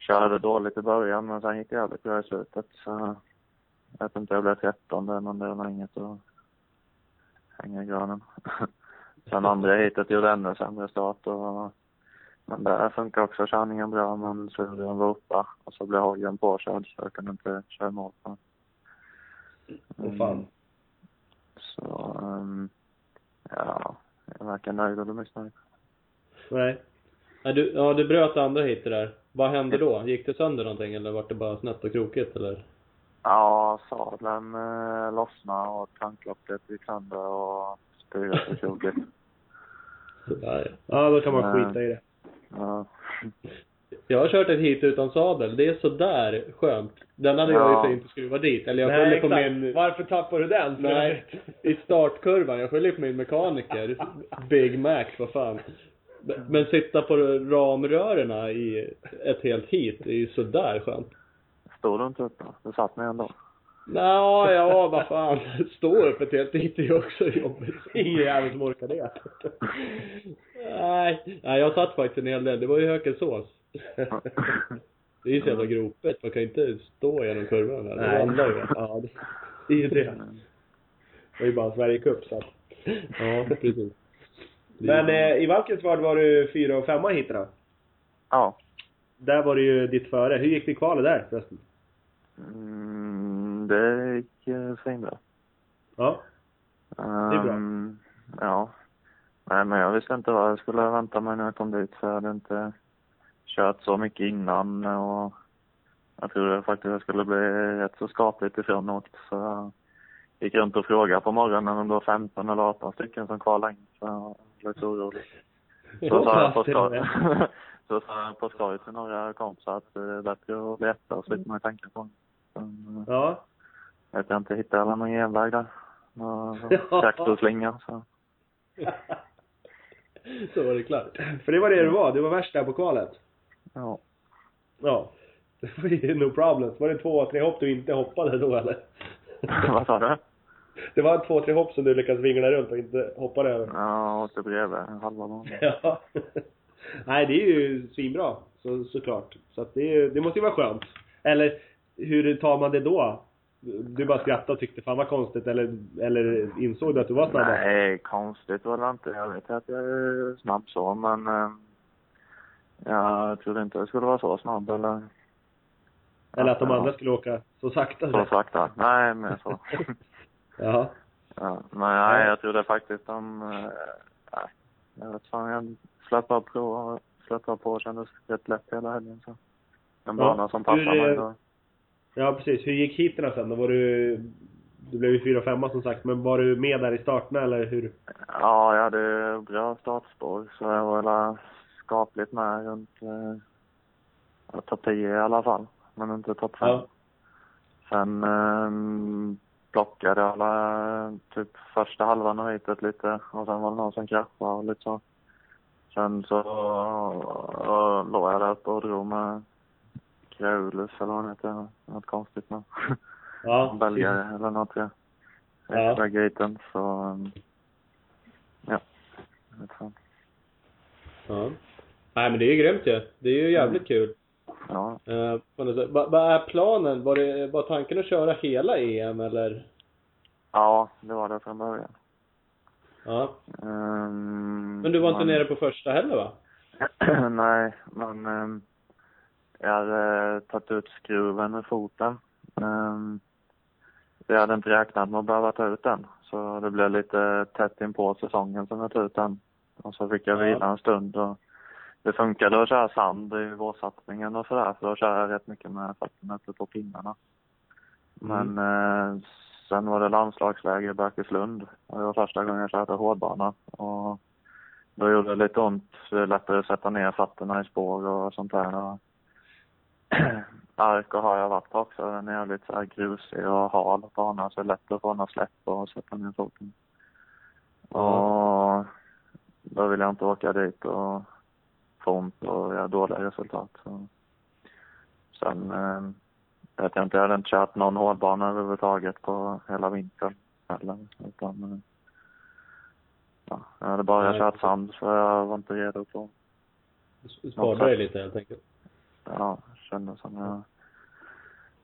D: körde dåligt i början men sen gick det jävligt bra i slutet. Så, jag vet inte, jag blev trettonde men det var inget att hänga i granen. (laughs) sen andra hitet gjorde ännu sämre start och men där funkar också körningen bra men surren var uppe och så blev hojen påkörd så jag kunde inte köra i mål på den.
C: Åh fan.
D: Mm, Så, ehm, ja, jag verkar nöjd eller missnöjd.
C: Nej.
B: Ja, du, ja, du bröt andra hitet där. Vad hände då? Gick det sönder någonting eller var det bara snett och krokigt eller?
D: Ja, sadeln eh, lossnade och tanklocket gick sönder och styret försvunnit.
B: Sådär.
C: Ja, då (laughs) kan man
D: Nej.
C: skita i det.
D: Eh, Ja.
B: Jag har kört ett hit utan sadel. Det är sådär skönt. Den hade jag
D: Ja.
B: ju fint skruvat dit. Eller jag skyller på min...
C: Varför tappar du den? (laughs)
B: Nej, i startkurvan. Jag skyller på min mekaniker. Big Mac, vad fan. Men- Men sitta på ramrörerna i ett helt hit är ju sådär skönt.
D: Stod du inte upp då? Du satt
C: (laughs)
D: ner ändå?
B: Nå, ja, vad (laughs) fan. Stå upp ett helt hit är ju också jobbigt.
C: Ingen jävel som orkar det.
B: Nej, nej, jag satt faktiskt en hel del. Det var ju Hökensås. Det är ju så jävla gropet. Man kan ju inte stå genom kurvan där. Det ramlar ju.
C: Ja, det- (laughs) det är ju det. Det är ju bara en Sverigecup så att.
B: Ja, precis.
C: Men eh, i Valkensvard var du fyra och femma hit då.
D: Ja.
C: Där var det ju ditt före. Hur gick det i kvalet där förresten?
D: Mm, det gick eh, svinbra.
C: Ja.
D: Um,
C: är bra.
D: Ja. Men men jag visste inte vad jag skulle vänta mig när jag kom dit. För jag hade inte kört så mycket innan och jag trodde faktiskt att jag skulle bli rätt så skapligt ifrånåt. Så jag gick runt och frågade på morgonen om det var 15 eller 18 stycken som kvalade in. Så jag blev lite orolig. Så sa jag på skoj, (laughs) så sa jag på skoj till några kompisar att eh, det är bättre att bli etta och slipper man tänka på det. Sen, eh,
C: Ja.
D: Vet jag inte, hittade alla någon genväg där. Och
C: (laughs) Ja.
D: Traktorslingan så.
B: Så var det klart.
C: För det var det du var. Du var värst där på kvalet.
D: Ja.
C: Ja. Det var ju no problem. Var det två, tre hopp du inte hoppade då eller?
D: (laughs) Vad sa du?
C: Det var två, tre hopp som du lyckades vingla runt och inte hoppade över.
D: Ja, åkte bredvid halva banan.
C: Ja. (laughs) Nej, det är ju svinbra så, såklart. Så att det, är- det måste ju vara skönt. Eller hur tar man det då? Du bara skrattade och tyckte fan vad konstigt eller, eller insåg du att du var snabbast?
D: Nej, konstigt var det inte. Jag vet att jag är snabb så, men... Eh, jag trodde inte jag skulle vara så snabb eller
C: Eller att de
D: Ja.
C: andra skulle åka så
D: så
C: sakta?
D: sakta. Nej, men
C: (laughs)
D: så.
C: Ja.
D: ja, men nej, jag trodde faktiskt om... Eh, nej, jag vet fan, jag flöt bara på, flöt bara på och kändes rätt lätt hela helgen så. En
C: Ja.
D: bana som passar
C: Hur,
D: mig
C: eh,
D: då.
C: ja, precis. Hur gick heaten sen då? Var du... Du blev ju fyra och femma som sagt, men var du med där i starterna eller hur?
D: Ja, jag hade bra startspår så jag var väl skapligt med runt eh, ja, topp 10 i alla fall. Men inte topp 5.
C: Ja.
D: Sen eh, plockade alla typ första halvan av heatet lite och sen var det någon som kraschade och lite så. Sen så eh, låg jag där uppe och drog med Kraulus eller vad han heter. Något konstigt namn. (laughs)
C: Ja, precis.
B: Mm.
D: Belgare eller något ja.
C: Ja.
D: Extra gaten så... um, Ja. Jag vet fan.
B: Ja. Nej men det är ju grymt ju. Det är ju jävligt kul.
D: Ja.
B: Eh, på något sätt. Vad vad är planen? Var, det, var tanken att köra hela EM eller?
D: ja, det var det från början.
B: Ja.
D: Um,
B: Men du var inte nere på första heller va?
D: (clears throat) Nej, men um, jag hade eh, tagit ut skruven ur foten. Um, jag hade inte räknat med att behöva ta ut den. Så det blev lite tätt in på säsongen som jag tog ut den. Och så fick jag
B: Ja.
D: vila en stund. Och det funkade att köra sand i vårsatsningen och sådär. För då körde jag rätt mycket med fötterna uppe på pinnarna. Men eh, sen var det landslagsläger i Berkeslund. Och det var första gången jag körde hårdbana. Och då gjorde det lite ont. Så det är lättare att sätta ner fötterna i spår och sånt där. Och (clears throat) Arko har jag varit på också. Den är jävligt så här grusig och hal bana. Så det är lätt att få den att släppa och sätta ner foten. Och då vill jag inte åka dit och få ont och göra dåliga resultat. Så. Sen eh, vet jag inte, jag hade inte kört någon hårdbana överhuvudtaget på hela vintern heller. Utan, eh, ja, jag hade bara
B: Nej.
D: kört sand så jag var inte redo på,
B: S- Sparade dig lite helt enkelt.
D: ja, jag kände som jag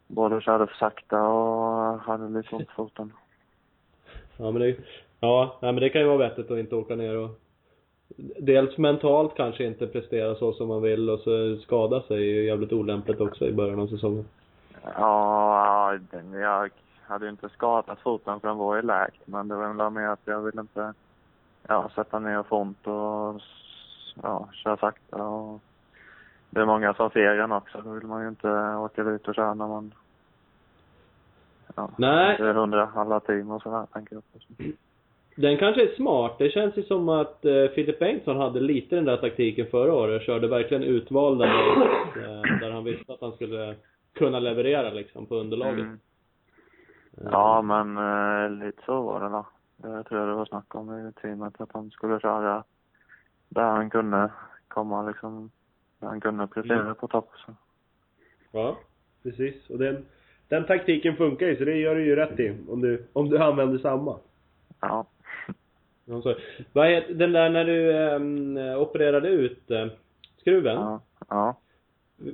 D: både körde för sakta och hade lite ont i foten.
B: Ja men det, ja, nej, men det kan ju vara vettigt att inte åka ner och Dels mentalt kanske inte prestera så som man vill och så skada sig är ju jävligt olämpligt också i början av säsongen.
D: Ja, den- jag hade ju inte skadat foten för den var ju läkt. Men det var väl mer att jag ville inte ja, sätta ner och få ont och s- ja, köra sakta. Och det är många som ser en också. Då vill man ju inte åka dit och köra när man ja,
B: Nej.
D: inte är hundra alla team och sådär, tänker jag.
B: Den kanske är smart. Det känns ju som att eh, Philip Bengtsson hade lite den där taktiken förra året. Körde verkligen utvalda race, eh, där han visste att han skulle kunna leverera liksom på underlaget.
D: Mm. Ja, men eh, lite så var det då. Jag tror jag det var snack om i teamet att han skulle köra där han kunde komma liksom, där han kunde prestera
B: Mm.
D: på topp. Så.
B: Ja.
C: Precis. Och den, den taktiken funkar ju, så det gör du ju rätt i. Om du, om du använder samma.
D: Ja.
B: Ja, så. Vad heter den där när du ehm, opererade ut eh, skruven?
D: Ja. Ja.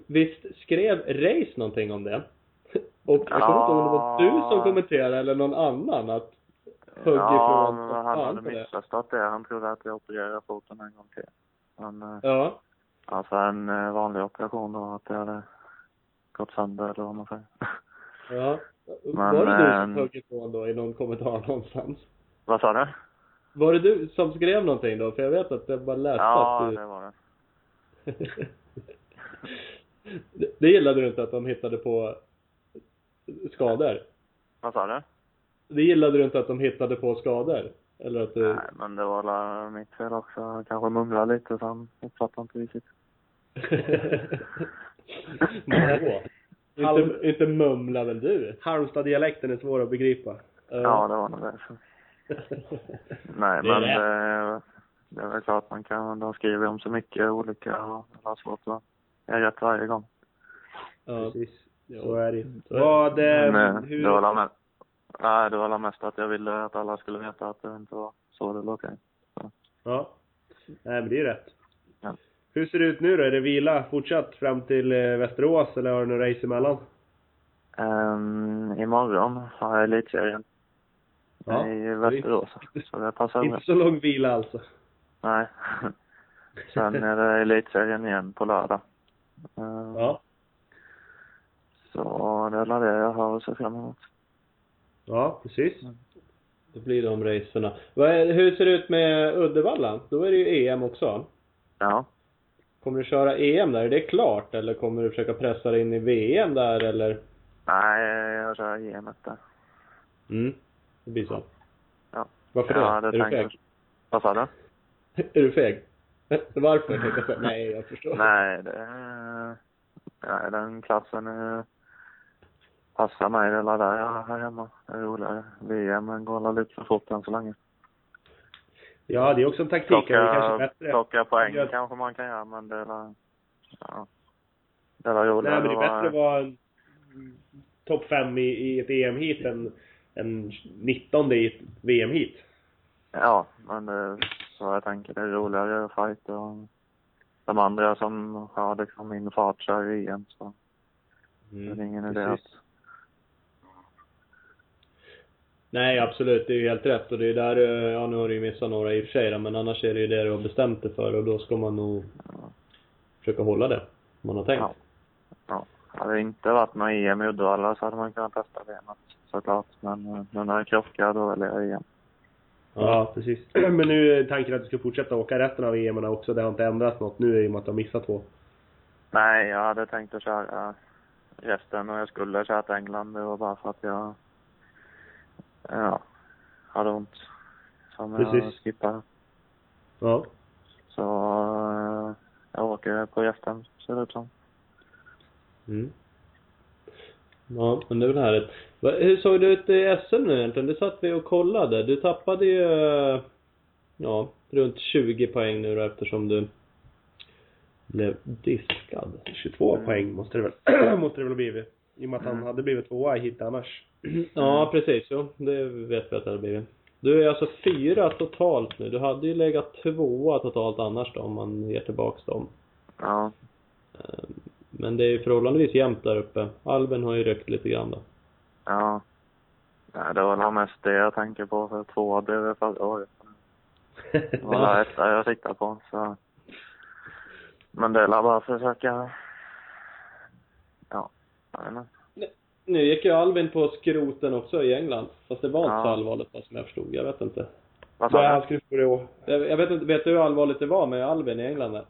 B: Visst skrev Race någonting om det? (laughs) Och jag kommer inte ihåg om det var du som kommenterade eller någon annan att högg
D: ja,
B: ifrån
D: men
B: som
D: han
B: fan
D: hade
B: på det.
D: missförstått det. Han trodde att jag opererade foten en gång till. Men eh,
B: Ja.
D: alltså en eh, vanlig operation då, att det hade gått sönder eller vad man säger. (laughs)
B: ja.
D: Men,
B: var det du som
D: ehm,
B: högg ifrån då i någon kommentar (laughs) någonstans?
D: vad sa du?
B: Var det du som skrev någonting då? För jag vet att jag bara läste
D: Ja,
B: att du...
D: det var det.
B: (laughs) Det- Det gillade du inte att de hittade på skador?
D: Vad sa du?
B: Det gillade du inte att de hittade på skador? Eller att du...
D: Nej, men det var la- mitt fel också. Jag kanske mumlade lite så han uppfattade inte riktigt.
C: (laughs)
B: Nej. inte, inte mumla väl du?
C: Halmstad-dialekten är svår att begripa.
B: Eh,
D: Ja, det var nog därför. (laughs) Nej,
A: Det är
D: men det, det är väl klart man kan. De skriver om så mycket olika och det är svårt att göra rätt varje gång.
B: ja.
C: Precis.
B: Ja.
C: Så är det ju.
B: Så är det.
C: Vad...
A: Ehm,
C: Eh,
D: Men eh, det var
C: hur...
D: la mest, nej, det var la mest att jag ville att alla skulle veta att det inte var så det låg till.
C: Ja. Nej, men det är ju rätt.
D: Ja.
C: Hur ser det ut nu då? Är det vila fortsatt fram till eh, Västerås eller har du några race emellan?
D: Um, imorgon har jag elitserien i Västerås. Så det passar
A: (laughs)
D: bra.
C: Inte så lång vila alltså.
D: Nej. (laughs) Sen är det elitserien igen på lördag. Eh,
C: Ja.
D: Så det är väl det jag har att se fram emot.
C: Ja, (laughs) precis.
B: Då blir de racerna. Vad är, hur ser det ut med Uddevalla? Då är det ju EM också.
D: Ja.
B: Kommer du köra EM där? Är det klart? Eller kommer du försöka pressa dig in i VM där eller?
D: Nej, jag kör gemet där.
B: Mm. Det blir så.
D: Ja.
B: Varför
D: ja,
B: det? Är du feg?
D: Vad sa du?
B: är du
C: (laughs)
B: feg? Varför? tänkte jag säga. Nej, jag förstår.
D: Nej, det är... Nej, den klassen är... passar mig. Det är där jag är här hemma. Det är roligare. VM går alla lite för fort än så länge.
C: Ja, det är också en taktik. Det är kanske
D: Plocka,
C: bättre.
D: plocka poäng
C: Gör-
D: kanske man kan göra, men det är... väl- Ja. Det är väl roligare
C: Nej, men det är
D: att vara-
C: bättre att vara en topp fem i, i ett EM-heat än,
B: Mm,
C: än 19 i ett VM-heat.
D: Ja, men det, så jag tänker det är roligare fight och de andra som har liksom min fart kör ju igen så det är ingen idé att...
C: Mm, precis.
B: Nej, absolut. Det är ju helt rätt. Och det är där, eh, ja nu har du ju missat några i och för sig då, men annars är det ju det du har bestämt dig för och då ska man nog försöka hålla det. Man har tänkt.
D: Ja. Ja. Hade det inte varit något EM i Uddevalla så hade man kunnat testa det men såklart. Men eh, nu när jag krockar då väljer jag E EM.
C: Ja, precis. (clears throat) Men nu är tanken att du ska fortsätta åka resten av EM också. Det har inte ändrats något nu i och med att du har missat två.
D: Nej, jag hade tänkt att köra resten och jag skulle köra till England. Det var bara för att jag... Ja. Hade ont. Som jag
C: Precis.
D: skippade.
C: Ja.
D: Så eh, jag åker på gästen ser det ut som.
B: Mm. Ja, men det är väl härligt. Va- Hur såg det ut i SM nu egentligen? Det satt vi och kollade. Du tappade ju, eh, ja, runt 20 poäng nu då eftersom du blev diskad. Mm.
C: 22 poäng måste det väl, (clears throat) måste det väl ha blivit. I och med att han hade blivit tvåa i hit annars.
B: (clears throat) Ja, precis. Jo, det vet vi att det hade blivit. Du är alltså fyra totalt nu. Du hade ju legat tvåa totalt annars då, om man ger tillbaks dem.
D: Ja.
B: Eh, Men det är ju förhållandevis jämnt där uppe. Alben har ju ryckt lite
D: (laughs)
B: grann då.
D: Ja. Nej, det var nog mest det jag tänker på, för tvåa blev jag förra året. Det
C: (laughs)
D: var det etta jag siktade på, så... Men det är bara att försöka... Ja, jag vet inte.
B: Nu gick ju Albin på skroten också i England. Fast det var inte
D: Ja.
B: så allvarligt vad som jag förstod. Jag vet inte.
D: Vad
C: Nej,
D: sa
C: han
D: du?
C: skulle få det å-
B: Jag, jag vet inte, vet du hur allvarligt det var med Albin i England där?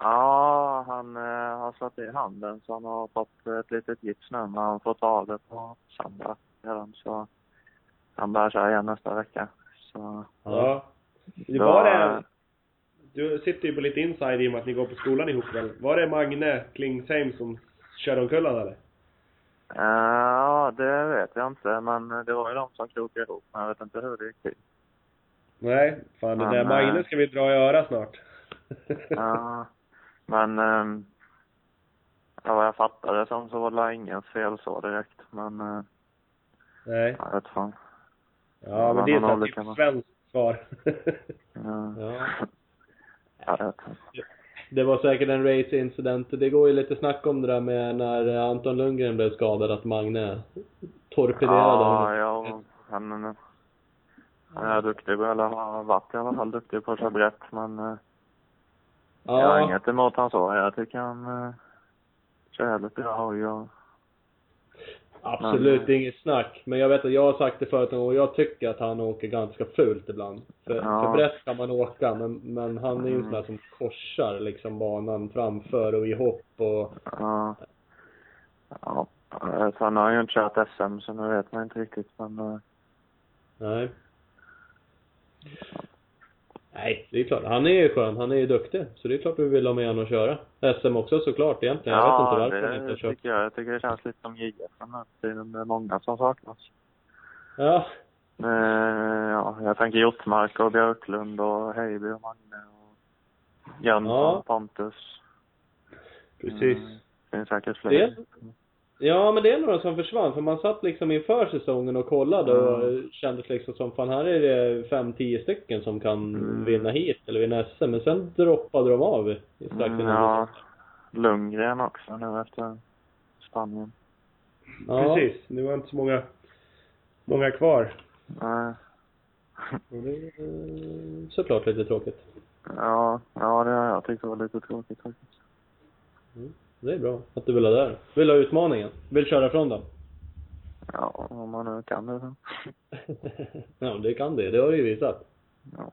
D: Ja, han eh, har slagit i handen, så han har fått ett litet gips nu, men han får ta av det på söndag redan, så... Han börjar köra igen nästa vecka, så...
C: Ja. Det
D: Ja.
C: var det... Du sitter ju på lite inside i och med att ni går på skolan ihop väl? Var det Magne Klingsheim som körde omkull han, eller?
D: Eh, Ja, det vet jag inte, men det var ju de som krokade ihop, men jag vet inte hur det gick till.
C: Nej, fan den
D: Han,
C: där
D: eh,
C: Magne ska vi dra i örat snart.
D: Ja, men um, ja, vad jag fattade som så var det inget fel så direkt. Men eh,
C: (laughs) Nej.
D: jag vet fan.
C: Ja, men
D: Han
C: det är
D: har
C: så
D: olika
C: typ
D: man.
C: svenskt svar.
D: Uh,
B: (laughs) Ja.
D: jag vet inte.
B: Det var säkert en race-incident. Det går ju lite snack om det där med när Anton Lundgren blev skadad, att Magne torpederade
D: Ja,
B: honom.
D: ja, han, han är duktig, på- eller har varit i alla fall duktig på att köra brett. Men eh, jag har inget eh, emot han så. Jag tycker han uh, kör lite bra hoj och
B: Absolut inget snack. Men jag vet att jag har sagt det förut någon gång och jag tycker att han åker ganska fult ibland. För,
D: Ja. Mm.
B: för brett kan man åka men, men han är ju en sån där som korsar liksom banan framför och i hopp och...
D: Ja. ja. eh, Sen har jag ju inte kört SM så nu vet man inte riktigt men... eh,
B: Nej. Nej, det är klart. Han är ju skön. Han är ju duktig. Så det är klart vi vill ha med honom att köra. SM också såklart egentligen. Jag vet inte varför han inte har
D: det
B: kört.
D: tycker jag. Jag tycker det känns lite som JF den här tiden. Det är många som saknas.
B: Ja,
D: Eh, ja, jag tänker Hjortmark och Björklund och Heiby och Magne och Jönsson,
B: Ja.
D: Pontus.
B: precis.
D: Mm, det finns säkert fler.
B: Det, ja, men det är några som försvann. För man satt liksom inför säsongen och kollade och
D: Mm.
B: eh, kändes liksom som fan här är det 5-10 stycken som kan
D: Mm.
B: vinna hit eller vinna SM. Men sen droppade de av i- strax
D: Mm,
B: innan.
D: ja. Lundgren också nu efter Spanien.
B: ja.
C: Precis, det var inte så många, många kvar.
D: Eh,
B: Och det är eh, såklart lite tråkigt.
D: ja, ja, det har jag tyckt var lite tråkigt faktiskt.
B: Det är bra att du vill ha där. Vill ha utmaningen. Vill köra från dem. (laughs)
D: Ja, om man nu kan det. så. (laughs)
B: ja, det kan det. Det har du ju visat.
D: Ja.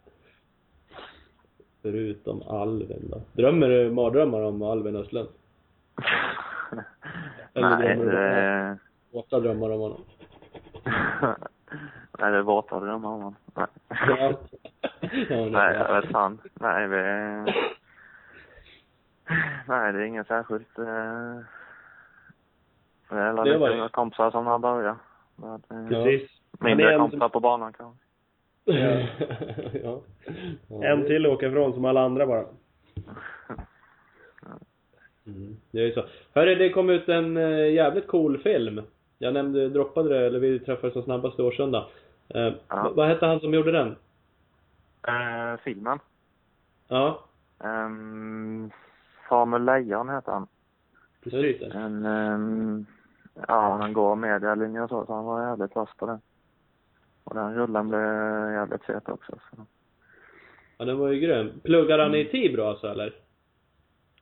B: Förutom Alvin då. Drömmer du mardrömmar om Alvin Östlund? Eller
D: Nej,
B: drömmer du
D: det...
B: Åtta drömmar om honom.
D: (laughs) Nej, det är våtadrömmar man. Nej.
B: Ja. Ja,
D: Nej, jag vet fan. Nej, vi... Nej, det är inget särskilt... Eh... Det är alla
B: Det
D: lite
B: var det.
D: kompisar som har börjat. Men, eh,
B: Ja.
C: Precis.
D: Mindre
C: Men en-
D: kompisar på banan kanske.
B: ja. ja.
C: En till åker ifrån som alla andra bara.
B: Mm. Det är ju så. Hörru, det kom ut en eh, jävligt cool film. Jag nämnde, droppade det, eller vi träffades som snabbast i Årsunda. Eh,
D: Ja.
B: v- Vad hette han som gjorde den?
D: Eh, filmen.
B: Ja,
D: Ehm, Samuel Lejon heter han.
B: just
C: Precis.
B: det.
D: En, ehm, ja, han går medialinjen och så, så han var jävligt vass på det. Och den rullen blev jävligt fet också. Så.
B: Ja, den var ju grym. Pluggade han i Tibro alltså, eller?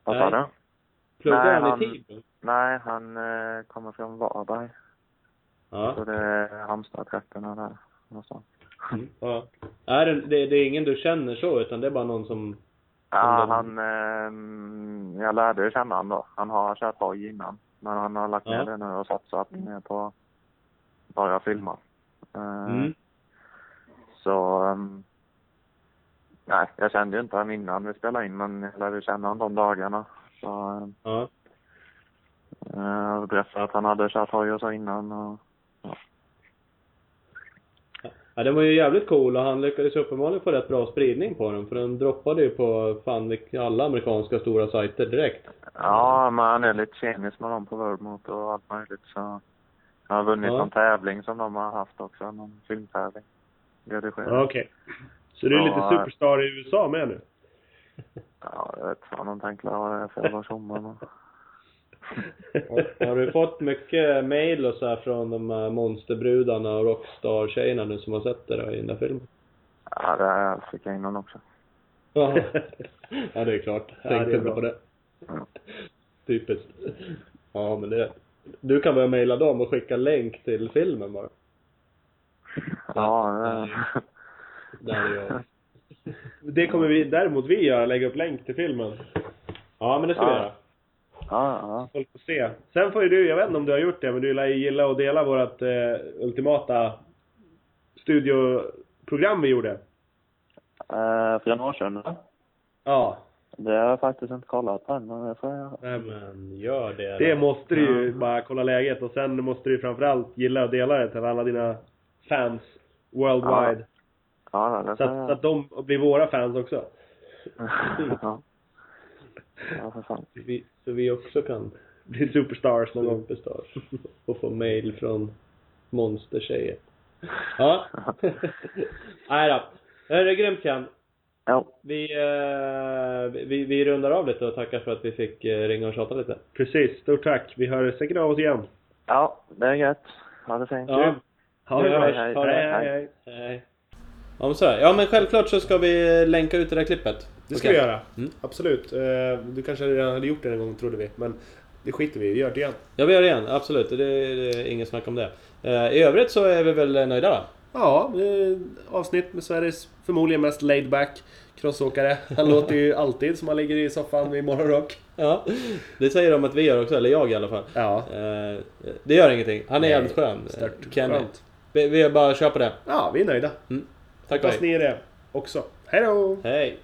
D: Vad
B: Nej.
D: sa du?
B: Pluggade
D: Nej,
B: han,
D: han-
B: i Tibro?
D: Nej, han eh, kommer från Varberg. Så
B: Ja.
D: det är Halmstad-trakterna där någonstans.
B: ja. Är det, det, det är ingen du känner så, utan det är bara någon som...
D: Ja,
B: Mm.
D: han... ehm, jag lärde ju känna honom då. Han har kört hoj innan. Men han har lagt ner
B: Ja.
D: det nu och satsat mer på att börja filma. Eh,
B: Mm.
D: Så... ehm, nej, jag kände ju inte honom innan vi spelade in, men jag lärde ju känna honom de dagarna. Så, ehm,
B: Ja.
D: eh, jag berättade att han hade kört hoj och så innan. Och,
B: ja, den var ju jävligt cool och han lyckades uppenbarligen få rätt bra spridning på den. För den droppade ju på fan vilka- alla amerikanska stora sajter direkt.
D: ja, men han är lite tjenis med dem på Worldmot och allt möjligt. Så, han har vunnit
B: Ja.
D: någon tävling som de har haft också, någon filmtävling. Redigerad.
C: Ja, Okej. Så du är
D: Ja.
C: lite superstar i USA med nu?
D: Ja, jag vet fan om tänkte vad det är för jävla tjomme. men-
B: Har du fått mycket mail och så här från de här monsterbrudarna och rockstar-tjejerna nu som har sett det där i den där filmen?
D: Ja, det här fick jag innan också.
B: Jaha. (laughs) ja, det är klart.
C: Ja,
B: Tänkte
C: det är
B: inte
C: bra.
B: på det.
D: Ja.
B: Typiskt. Ja, men det... Du kan börja mejla dem och skicka länk till filmen bara.
D: Ja, det...
B: nej. Där är jag.
C: Det kommer vi däremot vi göra, lägga upp länk till filmen.
B: Ja, men det ska vi
D: Ja.
B: göra.
D: ja, ja.
C: Folk får se. Sen får ju du, jag vet inte om du har gjort det, men du lär ju gilla och dela vårt eh, ultimata studioprogram vi gjorde.
D: Eh, för några år sedan.
C: Ja.
D: Det har jag faktiskt inte kollat på än, men det får jag göra.
B: Men gör det.
C: Det
B: då.
C: måste du ju bara kolla läget och sen måste du ju framförallt gilla och dela det till alla dina fans worldwide.
D: Ja, ja,
C: Så,
D: det får jag
C: att, så
D: göra.
C: att de blir våra fans också.
D: (laughs) Ja. ja, för fan.
B: Vi, så vi också kan
C: Blir superstars någon gång.
B: superstars och få mail från monstertjejer.
D: (laughs)
B: Ja. Nej då. Hörru, grymt Ken.
D: Ja,
B: Vi, eh, vi, vi rundar av lite och tackar för att vi fick eh, ringa och tjata lite.
C: Precis, stort tack. Vi hör säkert av oss igen.
D: ja, det är gött. Ha det fint.
B: Ja.
C: Ha
B: Vi
C: det bra.
B: hörs.
C: Hej,
B: Ha det.
C: hej, hej.
B: Nej. Ja men så är det. Ja men självklart så ska vi länka ut det där klippet.
C: Mm. Det ska vi göra. Absolut. Eh, Du kanske redan hade gjort det en gång trodde vi. Men det skiter vi i. Vi gör det igen.
B: Ja, vi gör det igen. Absolut. Det, det är inget snack om det. Eh, I övrigt så är vi väl nöjda då?
C: Ja, eh, avsnitt med Sveriges förmodligen mest laid back crossåkare. (laughs) Han låter ju alltid som han ligger i soffan i morgonrock.
B: Ja, det säger de att vi gör också, eller jag i alla fall.
C: Ja,
B: Eh, Det gör ingenting. Han är
C: Nej,
B: jävligt skön. eh,
C: stört
B: Kenny.
C: skönt.
B: Vi, vi bara kör på det.
C: Ja, vi är nöjda.
B: Tack och
C: Hoppas
B: hej.
C: ni är det också. Hej då!
B: Hej.